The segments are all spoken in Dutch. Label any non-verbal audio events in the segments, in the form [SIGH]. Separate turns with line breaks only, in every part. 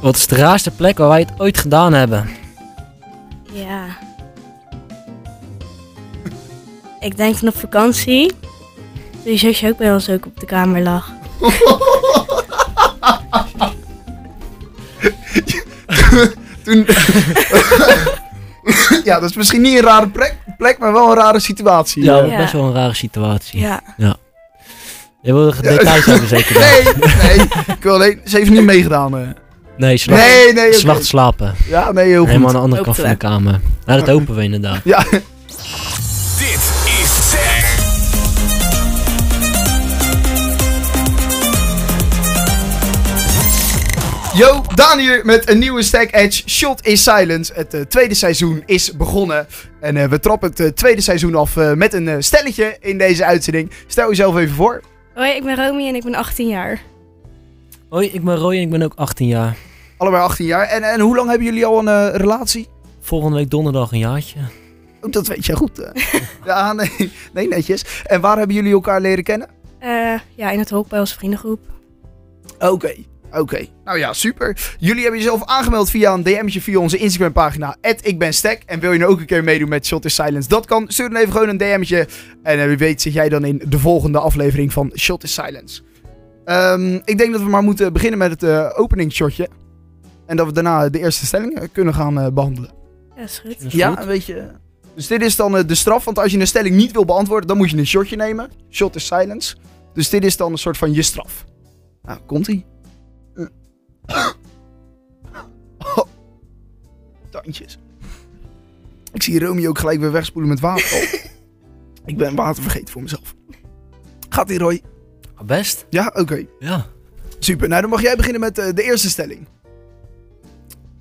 Wat is de raarste plek waar wij het ooit gedaan hebben?
Ja. Ik denk van op vakantie. Toen je zusje ook bij ons ook op de kamer lag.
Toen... [LAUGHS] ja, dat is misschien niet een rare plek, plek maar wel een rare situatie.
Ja,
Ja.
best wel een rare situatie.
Ja.
Je wil er details over zeker.
Eh, Nee, nee. Ik wil alleen... Ze heeft niet meegedaan. eh.
Nee, ze lag,
Nee, nee. oké.
ze lag te slapen.
Ja, nee, heel
Helemaal aan
goed.
de andere kant van de
Hoopte
kamer. Nou, dat hopen we inderdaad.
Ja,
Dit is Tech.
Yo, Daan hier met een nieuwe Stack Edge Shot is Silence. Het eh, tweede seizoen is begonnen. En eh, we trappen het eh, tweede seizoen af eh, met een eh, stelletje in deze uitzending. Stel jezelf even voor.
Hoi, ik ben Romy en ik ben 18 jaar.
Hoi, ik ben Roy en ik ben ook 18 jaar.
Allebei 18 jaar. En, en hoe lang hebben jullie al een eh, relatie?
Volgende week donderdag een jaartje.
Oh, dat weet jij goed. eh. ja, nee, nee, netjes. En waar hebben jullie elkaar leren kennen?
Eh, ja, in het hok bij onze vriendengroep.
Oké. Oké, nou ja, super. Jullie hebben jezelf aangemeld via een DM'tje via onze Instagram-pagina. Ik ben Stack. En wil je nou ook een keer meedoen met Shot is Silence? Dat kan. Stuur dan even gewoon een DM'tje. En eh, wie weet zit jij dan in de volgende aflevering van Shot is Silence. Ehm, ik denk dat we maar moeten beginnen met het eh openingsshotje. En dat we daarna de eerste stelling eh, kunnen gaan eh, behandelen.
Ja, is goed.
Dat is
ja,
goed.
weet je. Dus dit is dan eh, de straf, want als je een stelling niet wil beantwoorden, dan moet je een shotje nemen. Shot is silence. Dus dit is dan een soort van je straf. Nou, komt ie. [COUGHS] Tandjes. Ik zie Romy ook gelijk weer wegspoelen met water. [LAUGHS] Oh, ik ben water vergeten voor mezelf. Gaat ie, Roy?
Ah, Best?
Ja, oké.
Ja.
Super. Nou, dan mag jij beginnen met eh, de eerste stelling.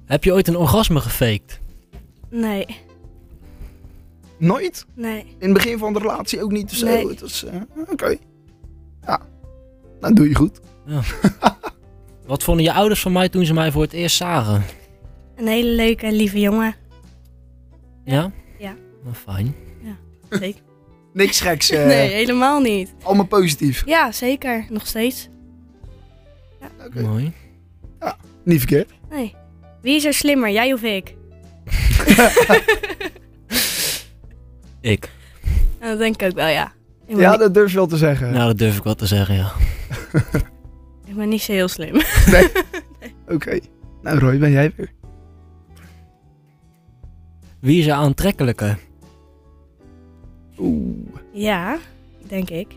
Heb je ooit een orgasme gefaked?
Nee,
Nooit?
nee.
In het begin van de relatie ook niet of zo.
Nee.
Het was, eh, oké. Ja, dat doe je goed.
Wat vonden je ouders van mij toen ze mij voor het eerst zagen?
Een hele leuke en lieve jongen.
Ja?
Ja.
Nou, fijn.
Zeker. [LAUGHS]
Niks geks.
[LAUGHS]
eh,
Nee, helemaal niet.
Allemaal positief.
Ja, zeker. Nog steeds.
Oké.
Mooi. [LAUGHS]
Niet verkeerd.
Nee. Wie is er slimmer, jij of [LAUGHS] ik?
Ik.
En dat denk ik ook wel, ja. Ik ben,
Ja,
niet,
dat durf je wel te zeggen.
Nou, dat durf ik wel te zeggen, ja.
ik ben niet zo heel slim.
Oké. Nou, Roy, ben jij weer?
Wie is er aantrekkelijker?
Oeh.
[LAUGHS] ja, denk ik.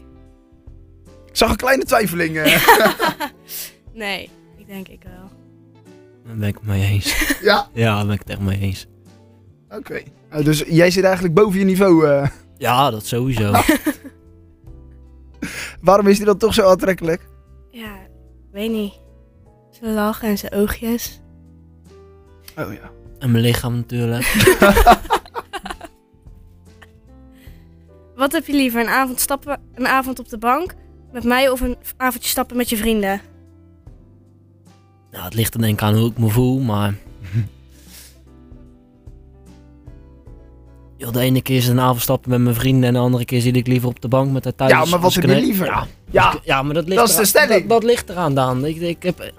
Ik zag een kleine twijfeling. eh.
[LAUGHS] Nee, ik denk ik wel.
Daar ben ik het mee eens.
ja,
Ja, daar ben ik het echt mee eens.
oké. Nou, dus jij zit eigenlijk boven je niveau. eh.
Ja, dat
[LAUGHS]
sowieso.
Waarom is die dan toch zo aantrekkelijk?
Ja, ik weet niet. Zijn lach en zijn oogjes.
Oh ja.
En mijn lichaam natuurlijk.
Wat heb je liever, een avond, stappen, een avond op de bank met mij of een avondje stappen met je vrienden?
Nou, het ligt er denk ik aan hoe ik me voel, [LAUGHS] maar... Joh, de ene keer is het een avond stappen met mijn vrienden en de andere keer zit ik liever op de bank met haar thuis.
Ja, maar wat
Als ik
heb je
een-
liever?
Ja,
Ja.
als ik- ja, maar dat ligt
Dat is de
eraan-
stelling.
Dat, dat ligt eraan, Daan. Ik, ik heb... eh,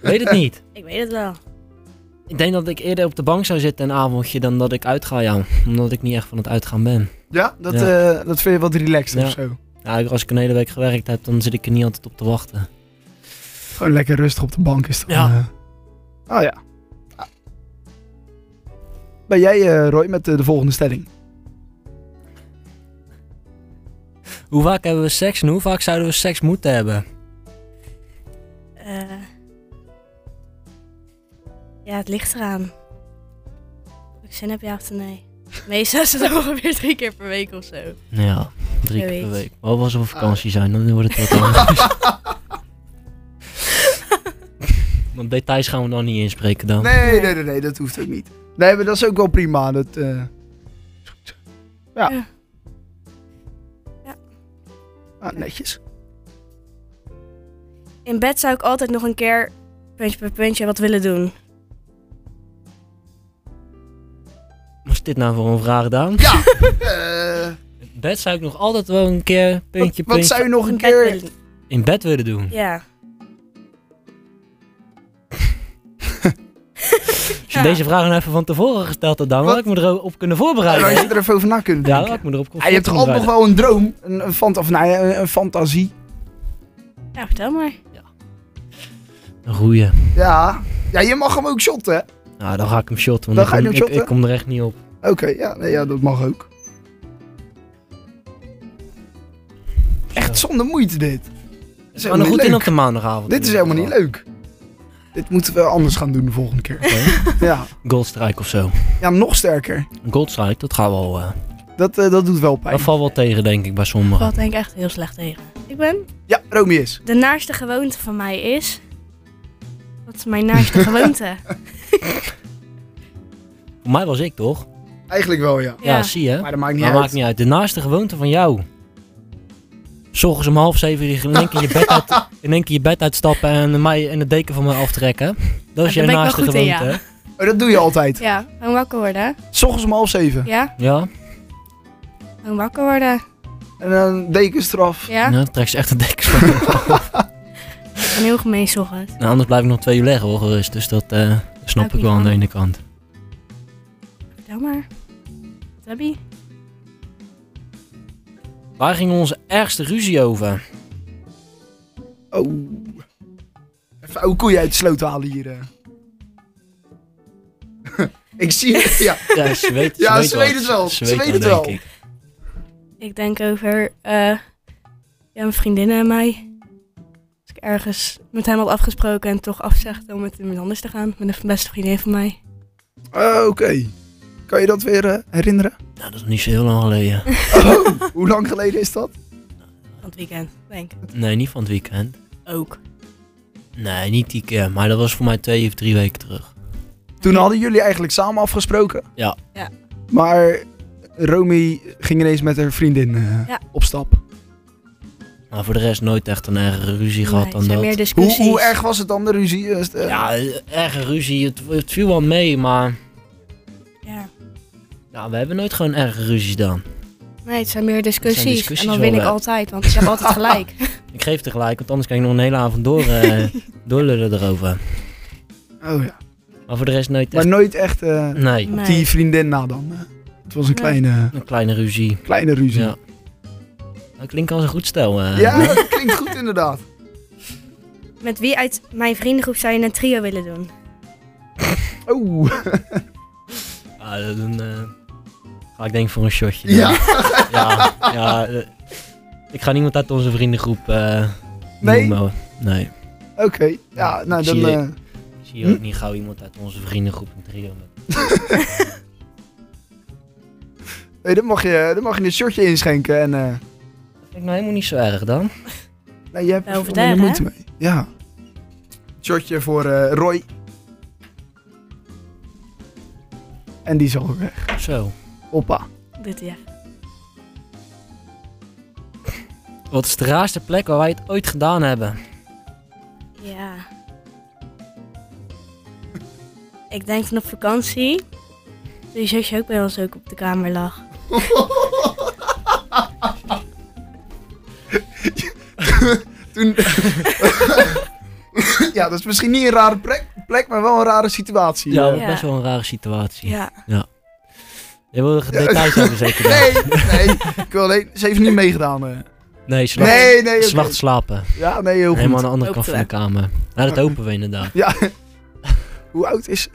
Weet het niet.
Ik weet het wel.
Ik denk dat ik eerder op de bank zou zitten een avondje dan dat ik uitga, ja. Omdat ik niet echt van het uitgaan ben.
Ja, dat, eh, dat vind je wat relaxed
Ja.
of zo.
Nou, als ik een hele week gewerkt heb, dan zit ik er niet altijd op te wachten.
Gewoon lekker rustig op de bank is dan.
Ja.
eh. Oh ja. Ah. Ben jij, eh, Roy, met eh, de volgende stelling?
Hoe vaak hebben we seks en hoe vaak zouden we seks moeten hebben?
Eh, ja, het ligt eraan. Of ik zin heb, ja of [LAUGHS] nee. Meestal is het ongeveer drie keer per week of [LAUGHS] zo.
Ja, drie keer per
Zoiets.
week. Maar als we op vakantie zijn, dan wordt het wat [LAUGHS] anders. Want details gaan we nog niet inspreken dan.
Nee, nee, nee, nee, dat hoeft ook niet. Nee, maar dat is ook wel prima. Dat, eh, is goed zo. Ja.
Ja.
Ja.
Ja.
Ah, netjes.
In bed zou ik altijd nog een keer puntje per puntje wat willen doen.
Wat is dit nou voor een vraag dan?
Ja. [LAUGHS] eh,
Bed zou ik nog altijd wel een keer
wat,
puntje,
wat
puntje
zou je nog een
In bed
keer...
willen-
in bed willen doen.
Ja.
Als je deze vraag nou even van tevoren gesteld had, dan had ik me erop kunnen
Dan
voorbereiden.
had je er even over na kunnen
Ja,
denken.
dan had ik me erop
Ja, je hebt toch
kunnen
altijd nog wel een droom, een, een, fant of, nou ja, een, een fantasie.
Ja, vertel maar.
voorbereiden. Een roeien.
Ja. ja, je mag hem ook shotten. hè?
Nou, dan ga ik hem shotten,
Dan
want
ga je
ik, kom,
hem
ik,
shotten?
ik kom er echt niet op.
Oké, ja, nee, ja, dat mag ook. Echt zonder moeite dit.
Het
helemaal niet
goed in
leuk.
op de maandagavond.
Dit is helemaal niet leuk. Dit moeten we anders gaan doen de volgende
[LAUGHS]
keer. Ja,
Goldstrike of zo.
ja nog sterker.
Goldstrike, dat gaat wel... eh
Dat, eh, dat doet wel pijn.
dat valt wel tegen, denk ik, bij
Dat
sommigen.
valt denk ik echt heel slecht tegen. Ik ben...
Ja, Romy is.
De naarste gewoonte van mij is... Wat is mijn [LAUGHS] naarste gewoonte?
Voor mij was ik, toch?
Eigenlijk wel, ja.
Ja, zie je.
Maar dat maakt niet
Maar
uit.
maakt niet uit. De naaste gewoonte van jou. 's ochtends om half zeven in één keer je bed,
[LAUGHS]
uit, in één keer je bed uitstappen en, mij, en het deken van me aftrekken. Dat is
Ja,
jouw
Ah, daar
naaste
ben ik wel goed
gewoonte.
in, ja.
hè?
Oh, dat doe je altijd.
Ja, gewoon wakker worden. hè?
S ochtends om half zeven.
Ja,
ja?
gewoon wakker worden.
En dan dekens eraf.
Ja?
Ja,
Nou, dan trek ze echt een deken van me.
ik ben heel gemeen 's ochtends.
nou, anders blijf ik nog twee uur liggen hoor, gerust. Dus dat eh, snap
Ook
ik
niet
wel aan de
van.
ene kant.
Vertel maar. Wat heb je?
Waar ging onze ergste ruzie over?
Oh. Even oude koeien uit de sloot halen hier. eh. [LAUGHS] ik zie het. Ja.
Ja, ze weet,
[LAUGHS] Ja,
weet
ze weet het wel. Ze weet het wel.
denk ik.
Ik denk over eh, ja, mijn vriendinnen en mij. Als ik ergens met hem had afgesproken en toch afzegde om met iemand anders te gaan. Met een beste vriendin van [LAUGHS] mij.
Oh, Oké. Kan je dat weer eh, herinneren?
Nou, dat is niet zo heel lang geleden.
Oh, [COUGHS] hoe lang geleden is dat?
Van het weekend, denk ik.
Nee, niet van het weekend.
Ook.
Nee, niet die keer. Maar dat was voor mij twee of drie weken terug.
Toen hadden jullie eigenlijk samen afgesproken.
Ja.
Ja.
Maar Romy ging ineens met haar vriendin eh,
Ja.
op stap.
Maar voor de rest nooit echt een ergere ruzie gehad
Nee,
dan
er zijn
dat.
meer
Hoe,
discussies.
hoe erg was het dan, de ruzie? Is het, eh,
Ja, erge ruzie. Het, het viel wel mee, maar
Ja.
ja, we hebben nooit gewoon erge ruzie dan.
Nee, het zijn meer discussies.
Het zijn discussies
en dan win
wel,
ik
hè.
altijd, want ik heb altijd gelijk.
Ik geef tegelijk, want anders kan ik nog een hele avond door,
[LAUGHS]
eh doorlullen erover.
Oh, ja.
Maar voor de rest nooit
Maar
echt...
nooit echt eh,
Nee,
Nee.
die vriendin na dan. eh. Het was een
Nee.
kleine,
een kleine ruzie.
kleine ruzie.
Ja. Dat klinkt als een goed stel. eh.
Ja, dat klinkt goed inderdaad.
Met wie uit mijn vriendengroep zou je een trio willen doen?
Oeh.
Ja, dan eh, ga ik denk ik voor een shotje. dan.
Ja.
ja, ja, eh, ik ga niemand uit onze vriendengroep eh
Nee?
noemen. hoor. Nee.
Oké. Ja, nou dan...
Zie je-
eh, [LAUGHS]
Ik zie ook niet gauw iemand uit onze vriendengroep een trio met.
nee, dan, mag je, dan mag je een shortje inschenken. En, eh,
Dat vind ik nou helemaal niet zo erg dan.
nee, je hebt
Wel
er
vertellen,
minder
hè?
mee. Ja. Shortje voor eh, Roy. En die is al weg.
Zo.
Hoppa.
Dit ja.
Wat is de raarste plek waar wij het ooit gedaan hebben?
Ja. Ik denk van op vakantie. Toen je zusje ook bij ons ook op de kamer lag.
Toen... [LAUGHS] ja, dat is misschien niet een rare plek, plek maar wel een rare situatie.
Ja,
Eh,
Ja.
best wel een rare situatie.
Ja.
Je wil de details hebben zeker. dan?
Nee, nee.
[LAUGHS]
Ik wil alleen... Ze heeft niet meegedaan. eh.
Nee, ze lag,
Nee, nee.
ze
oké.
lag te slapen.
Ja, nee, heel goed.
Helemaal aan de andere
Ook
kant van de
te
kamer. Nou, dat hopen we inderdaad.
Ja. Hoe oud is ze?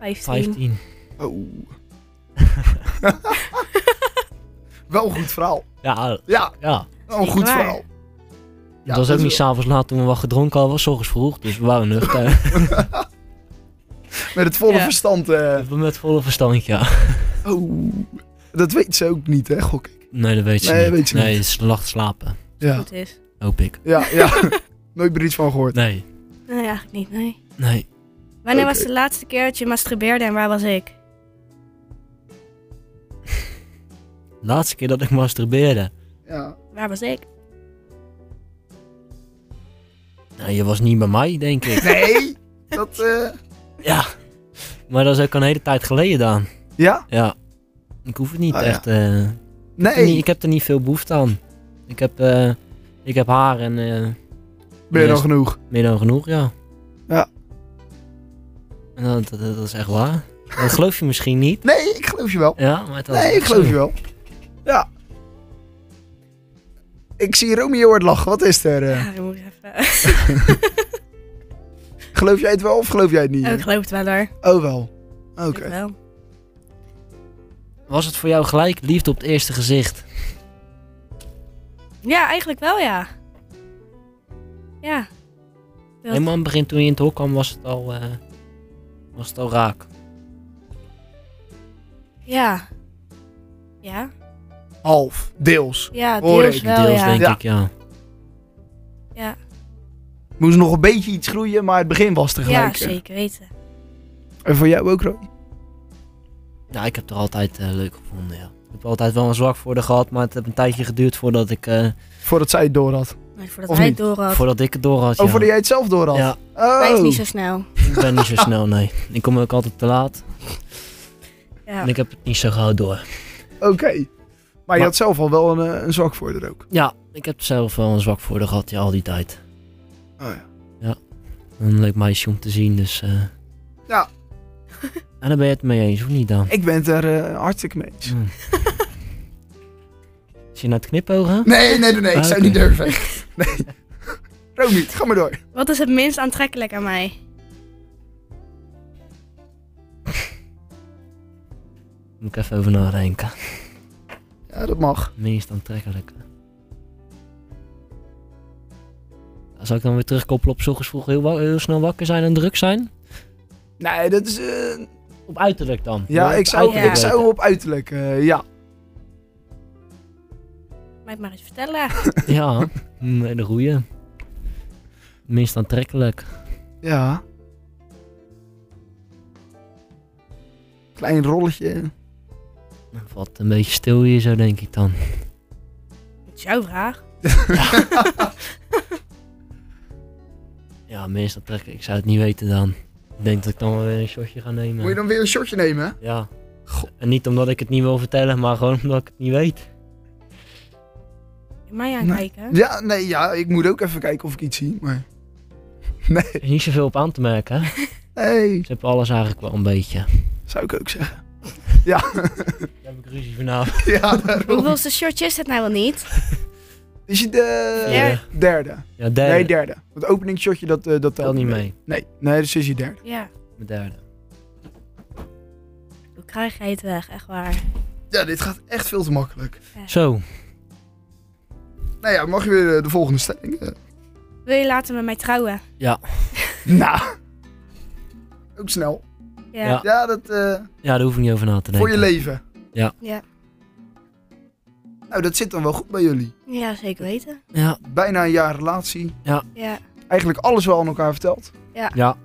15. [LAUGHS]
15.
Oh. Wel een goed verhaal.
Ja,
Ja,
ja.
wel een goed
waar.
verhaal.
dat was ook niet s'avonds laat toen we wat gedronken hadden. was 's ochtends vroeg, dus we waren
[LAUGHS]
nuchter. [LAUGHS]
Met het volle
Ja.
verstand. eh,
Met volle verstand, ja.
oh. Dat weet ze ook niet, hè, gok ik.
Nee, dat weet ze
Nee,
niet.
weet ze
nee, ze lag te slapen.
Ja,
Goed is.
Hoop ik.
ja, ja. [LAUGHS] Nooit meer iets van gehoord.
Nee,
Nee, eigenlijk niet, nee.
nee.
Wanneer
Oké.
was de laatste keer dat je masturbeerde en waar was ik?
Laatste keer dat ik masturbeerde.
Ja.
Waar was ik?
Nou, je was niet bij mij, denk
[LAUGHS]
ik.
Nee, dat... eh,
Ja. Maar dat is ook al een hele tijd geleden dan.
Ja?
Ja. Ik hoef het niet
Ah, ja.
echt... eh, ik, heb er niet,
Nee.
ik heb er niet veel behoefte aan. Ik heb, eh, ik heb haar en eh,
Ben je dan
Yes.
genoeg?
meer dan genoeg, ja. En dat, dat, dat is echt waar. Dat geloof je misschien niet.
Nee, ik geloof je wel.
Ja, maar dat
Nee, ik geloof je wel. Ja. Ik zie Romeo hard lachen. Wat is er? eh?
Ja, dan moet ik even...
Geloof jij het wel of geloof jij het niet?
[LAUGHS] Oh, ik geloof het wel hoor.
Oh, wel. Oké.
Ik wel.
Was het voor jou gelijk liefde op het eerste gezicht?
Ja, eigenlijk wel ja. Ja. Dat-
Helemaal aan het begin toen je in het hok kwam was het al, eh, was het al raak.
Ja. Ja.
Half. Deels.
Ja,
Hoor
deels
ik.
wel
Deels
ja.
denk
Ja.
ik, ja.
Ja.
Moest nog een beetje iets groeien, maar het begin was
ja,
tegelijk.
zeker weten.
En voor jou ook, Roy?
Nou, ik heb het er altijd eh, leuk gevonden, ja. Ik heb altijd wel een zwak voor haar gehad, maar het heeft een tijdje geduurd voordat ik, eh,
Voordat zij het door had.
Maar voordat
Of
hij
niet?
het door had,
voordat ik het door had.
Oh,
ja.
voordat jij het zelf door had?
Ja,
Oh.
hij is niet zo snel.
ik ben
[LAUGHS]
niet zo snel, nee. Ik kom ook altijd te laat
Ja.
en ik heb het niet zo gauw door.
Oké. Maar, je
Maar-
had zelf al wel een, eh, een zwak voor er ook.
Ja, ik heb zelf wel een zwak voor haar gehad, ja, al die tijd.
Oh ja.
Een leuk meisje om te zien, dus... eh.
Ja.
En daar ben je het mee eens, of niet dan?
Ik ben het er eh, hartstikke mee eens.
Hm. Is je naar het knipogen?
Nee, nee, nee, nee. Ik
Ah,
zou
oké.
niet durven. [LAUGHS] Nee. Romy, ga maar door.
[LAUGHS] Wat is het minst aantrekkelijk aan mij?
Moet ik even over nadenken.
Ja, dat mag.
Meest aantrekkelijke. Zal ik dan weer terugkoppelen op 's ochtends vroeg heel, wa- heel snel wakker zijn en druk zijn?
Nee, dat is... eh,
Op uiterlijk dan. Wil
ja,
je
ik
het
zou,
uiterlijk
ik zou
weten?
op uiterlijk, eh, ja.
Mij het maar eens vertellen.
Ja, mm, een goeie. Meest aantrekkelijk.
Ja. Klein rolletje. [LAUGHS]
Dan Valt een beetje stil hier zo, denk ik dan.
Dat is jouw
[LAUGHS]
vraag.
Ja, meest aantrekkelijk. Ik zou het niet weten dan. Ik denk dat ik dan wel weer een shotje ga nemen.
Moet je dan weer een shotje nemen? hè?
Ja. En niet omdat ik het niet wil vertellen, maar gewoon omdat ik het niet
[LAUGHS]
weet.
Mij aankijken.
Ja, nee, ja. Ik moet ook even kijken of ik iets zie, maar... Nee.
Er is niet zoveel op aan te merken. hè.
Nee,
Ze hebben alles eigenlijk wel een beetje.
zou ik ook zeggen.
Daar heb ik ruzie vanavond.
Ja, daarom.
Oh.
Hoeveelste shortje is het nou wel niet?
Is je de
Ja.
derde?
Ja, derde.
Eh, Nee, derde. Want openingsshotje, dat, eh, dat
Telt niet mee.
Nee, nee, dus is hij derde.
Ja.
Mijn derde.
Hoe krijg jij het weg? Echt waar.
Ja, dit gaat echt veel te makkelijk.
Zo.
Nou ja, mag je weer eh, de volgende stelling? eh?
Wil je later met mij trouwen?
[LAUGHS] nou. Ook snel.
Ja.
Ja.
Ja, dat eh,
Ja, daar hoef ik niet over na te denken.
voor je leven.
Ja.
Nou, dat zit dan wel goed bij jullie.
Ja, zeker weten.
Ja,
Bijna een jaar relatie.
Ja.
Eigenlijk alles wel aan elkaar verteld.
ja. Ja,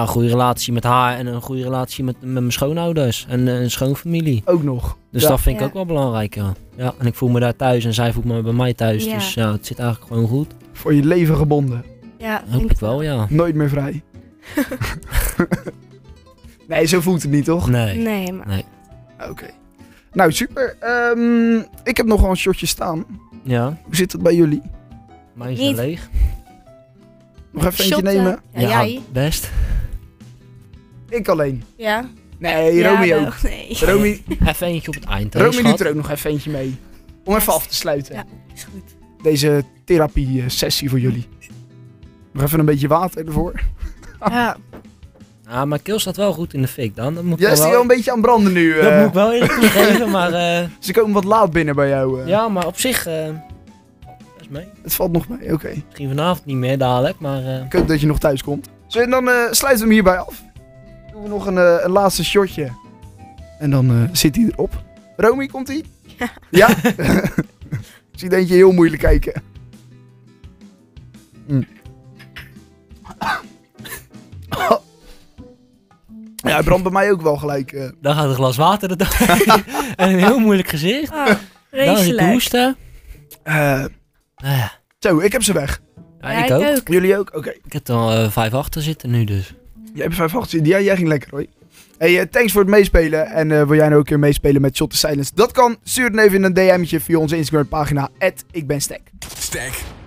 een goede relatie met haar en een goede relatie met, met mijn schoonouders en eh, een schoonfamilie.
Ook nog.
Dus
Ja.
dat vind ik
Ja.
ook wel belangrijk, ja. Ja, en ik voel me daar thuis en zij voelt me bij mij thuis.
Ja.
Dus ja, het zit eigenlijk gewoon goed.
Voor je leven gebonden.
Ja,
Hoop ik wel, ja.
Nooit meer vrij. [LAUGHS] nee, zo voelt het niet, toch?
Nee.
Nee, maar
Oké. Nou, super. Ehm, ik heb nog wel een shotje staan.
Ja,
Hoe zit het bij jullie?
mijn is
Niet.
wel leeg.
Nog even eentje
Shotten.
nemen?
Ja, jij?
best.
Ik alleen.
Ja.
Nee,
ja,
Romy
nou,
ook.
Nee.
Romy,
Even eentje op het eind. hè,
Romy
schat?
doet er ook nog even eentje mee. Om even af te sluiten.
Ja. Is goed.
Deze therapie-sessie voor jullie. Nog even een beetje water ervoor.
Ah.
Ja.
Ja, mijn keel Ah, staat wel goed in de fik dan. Dat moet ik
Jij is
wel...
hier wel een beetje aan het branden nu.
Dat
eh.
moet ik wel eerlijk
[LAUGHS]
toegeven, maar... eh,
Ze komen wat laat binnen bij jou. eh.
ja, maar op zich... eh best mee.
Het valt nog mee, oké.
Misschien vanavond niet meer dadelijk, maar... eh,
Ik hoop dat je nog thuis komt. Zo, en dan eh, sluiten we hem hierbij af. Doen we nog een, eh, een laatste shotje. En dan eh, zit hij erop. Romy, komt hij? Ja. [LAUGHS] Ik zie dat je heel moeilijk kijken. Mm. ja, hij brandt bij mij ook wel gelijk. eh.
dan gaat een glas water er doorheen. [LAUGHS] en een heel moeilijk gezicht.
Oh,
Dan zit te
vreselijk.
hoesten.
Eh,
Nou ja,
zo, ik heb ze weg.
ja, ik ook.
Jullie ook? Oké.
Ik heb er al eh, vijf achter zitten nu dus.
Jij hebt 5 8 Ja, jij ging lekker hoor. Hey, eh, thanks voor het meespelen. En eh, wil jij nou ook een keer meespelen met Shot the Silence? Dat kan. Stuur het even in een DM'tje via onze Instagram pagina. Ik ben Stek.
Stek